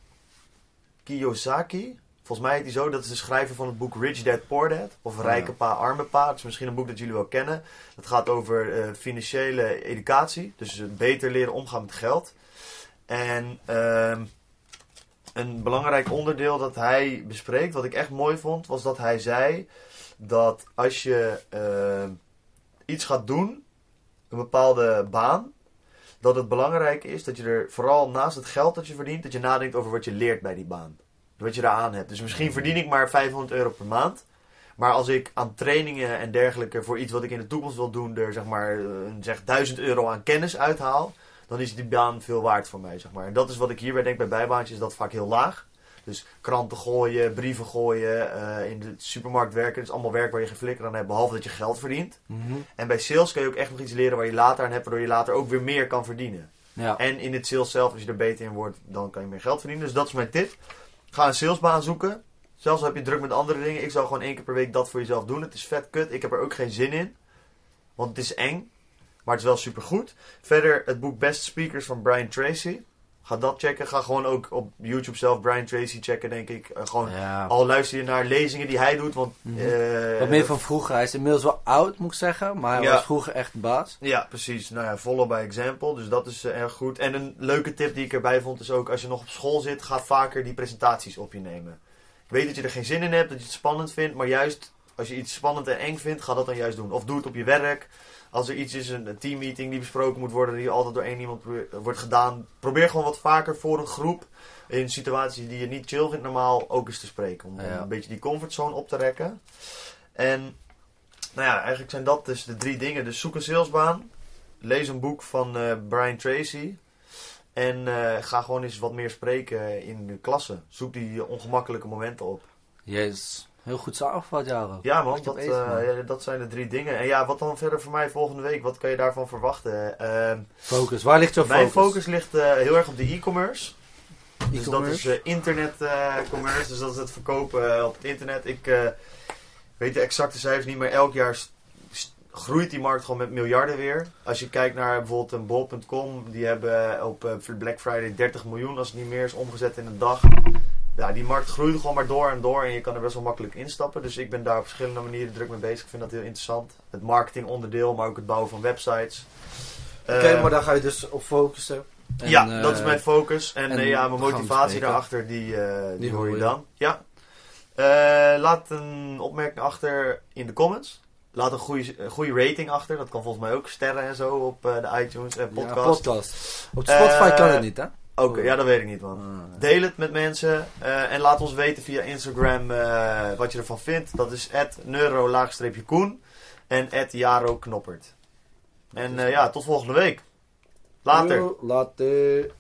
[SPEAKER 1] Kiyosaki. Volgens mij heet hij zo. Dat is de schrijver van het boek Rich Dad Poor Dad. Of
[SPEAKER 2] Oh,
[SPEAKER 1] Rijke
[SPEAKER 2] ja.
[SPEAKER 1] Pa, Arme Pa. Dat is misschien een boek dat jullie wel kennen. Dat gaat over eh, financiële educatie. Dus eh, beter leren omgaan met geld. En ehm, een belangrijk onderdeel dat hij bespreekt, wat ik echt mooi vond, was dat hij zei dat als je ehm, iets gaat doen, een bepaalde baan, dat het belangrijk is dat je er vooral naast het geld dat je verdient, dat je nadenkt over wat je leert bij die baan. Wat je eraan hebt. Dus misschien verdien ik maar 500 euro per maand. Maar als ik aan trainingen en dergelijke voor iets wat ik in de toekomst wil doen, er zeg maar eh, zeg 1000 euro aan kennis uithaal, dan is die baan veel waard voor mij. Zeg maar. En dat is wat ik hierbij denk bij bijbaantjes, is dat vaak heel laag. Dus kranten gooien, brieven gooien, eh, in de supermarkt werken. Dat is allemaal werk waar je geen flikker aan hebt, behalve dat je geld verdient. En bij sales kun je ook echt nog iets leren waar je later aan hebt, waardoor je later ook weer meer kan verdienen.
[SPEAKER 2] Ja.
[SPEAKER 1] En in het sales zelf, als je er beter in wordt, dan kan je meer geld verdienen. Dus dat is mijn tip. Ga een salesbaan zoeken. Zelfs al heb je druk met andere dingen. Ik zou gewoon één keer per week dat voor jezelf doen. Het is vet kut. Ik heb er ook geen zin in. Want het is eng. Maar het is wel supergoed. Verder het boek Best Speakers van Brian Tracy. Ga dat checken. Ga gewoon ook op YouTube zelf Brian Tracy checken, denk ik. Eh, gewoon
[SPEAKER 2] Ja.
[SPEAKER 1] al luister je naar lezingen die hij doet. Want,
[SPEAKER 2] Mhm.
[SPEAKER 1] eh,
[SPEAKER 2] Wat meer van vroeger. Hij is inmiddels wel oud, moet ik zeggen. Maar hij
[SPEAKER 1] Ja.
[SPEAKER 2] was vroeger echt de baas.
[SPEAKER 1] Ja, precies. Nou ja, follow by example. Dus dat is eh, erg goed. En een leuke tip die ik erbij vond is ook... als je nog op school zit, ga vaker die presentaties op je nemen. Ik weet dat je er geen zin in hebt, dat je het spannend vindt... maar juist als je iets spannend en eng vindt, ga dat dan juist doen. Of doe het op je werk. Als er iets is, een een teammeeting die besproken moet worden... die altijd door één iemand probeer- wordt gedaan... probeer gewoon wat vaker voor een groep... in situaties die je niet chill vindt normaal ook eens te spreken. Om, om
[SPEAKER 2] Ja.
[SPEAKER 1] een beetje die comfortzone op te rekken. En... Nou ja, eigenlijk zijn dat dus de drie dingen. Dus zoek een salesbaan, lees een boek van eh, Brian Tracy. En eh, ga gewoon eens wat meer spreken in de klassen. Zoek die eh, ongemakkelijke momenten op.
[SPEAKER 2] Jezus. Heel goed samengevat, Jaro.
[SPEAKER 1] Ja man,
[SPEAKER 2] Goed
[SPEAKER 1] dat,
[SPEAKER 2] bezig, man.
[SPEAKER 1] eh, ja, dat zijn de drie dingen. En ja, wat dan verder voor mij volgende week? Wat kan je daarvan verwachten? Eh,
[SPEAKER 2] Focus. Waar ligt jouw focus?
[SPEAKER 1] mijn focus ligt eh, heel erg op de e-commerce. Dus dat
[SPEAKER 2] E-commerce.
[SPEAKER 1] is eh, internet internetcommerce, dus dat is het verkopen eh, op het internet. Ik eh, weet de exacte cijfers niet, maar elk jaar st- st- groeit die markt gewoon met miljarden weer. Als je kijkt naar bijvoorbeeld een bol.com, die hebben eh, op eh, Black Friday 30 miljoen, als het niet meer is, omgezet in een dag. Ja, die markt groeit gewoon maar door en door en je kan er best wel makkelijk instappen. Dus ik ben daar op verschillende manieren druk mee bezig. Ik vind dat heel interessant. Het marketingonderdeel, maar ook het bouwen van websites.
[SPEAKER 2] Oké,
[SPEAKER 1] Eh,
[SPEAKER 2] maar daar ga je dus op focussen. En,
[SPEAKER 1] ja,
[SPEAKER 2] eh,
[SPEAKER 1] dat is mijn focus. En,
[SPEAKER 2] en
[SPEAKER 1] eh, ja, mijn
[SPEAKER 2] we gaan
[SPEAKER 1] motivatie
[SPEAKER 2] bespreken.
[SPEAKER 1] daarachter, die, eh, die, hoor je dan. Ja. Eh, laat een opmerking achter in de comments. Laat een goede, een goede rating achter. Dat kan volgens mij ook sterren en zo op eh, de iTunes en
[SPEAKER 2] ja,
[SPEAKER 1] podcast.
[SPEAKER 2] podcast. Op Spotify
[SPEAKER 1] Eh,
[SPEAKER 2] kan het niet, hè?
[SPEAKER 1] Oké, ja, dat weet ik niet, man.
[SPEAKER 2] Ah.
[SPEAKER 1] Deel het met mensen eh, en laat ons weten via Instagram eh, wat je ervan vindt. Dat is neuro-koen en jaro knoppert. En eh, ja, tot volgende week. Later.
[SPEAKER 2] Later.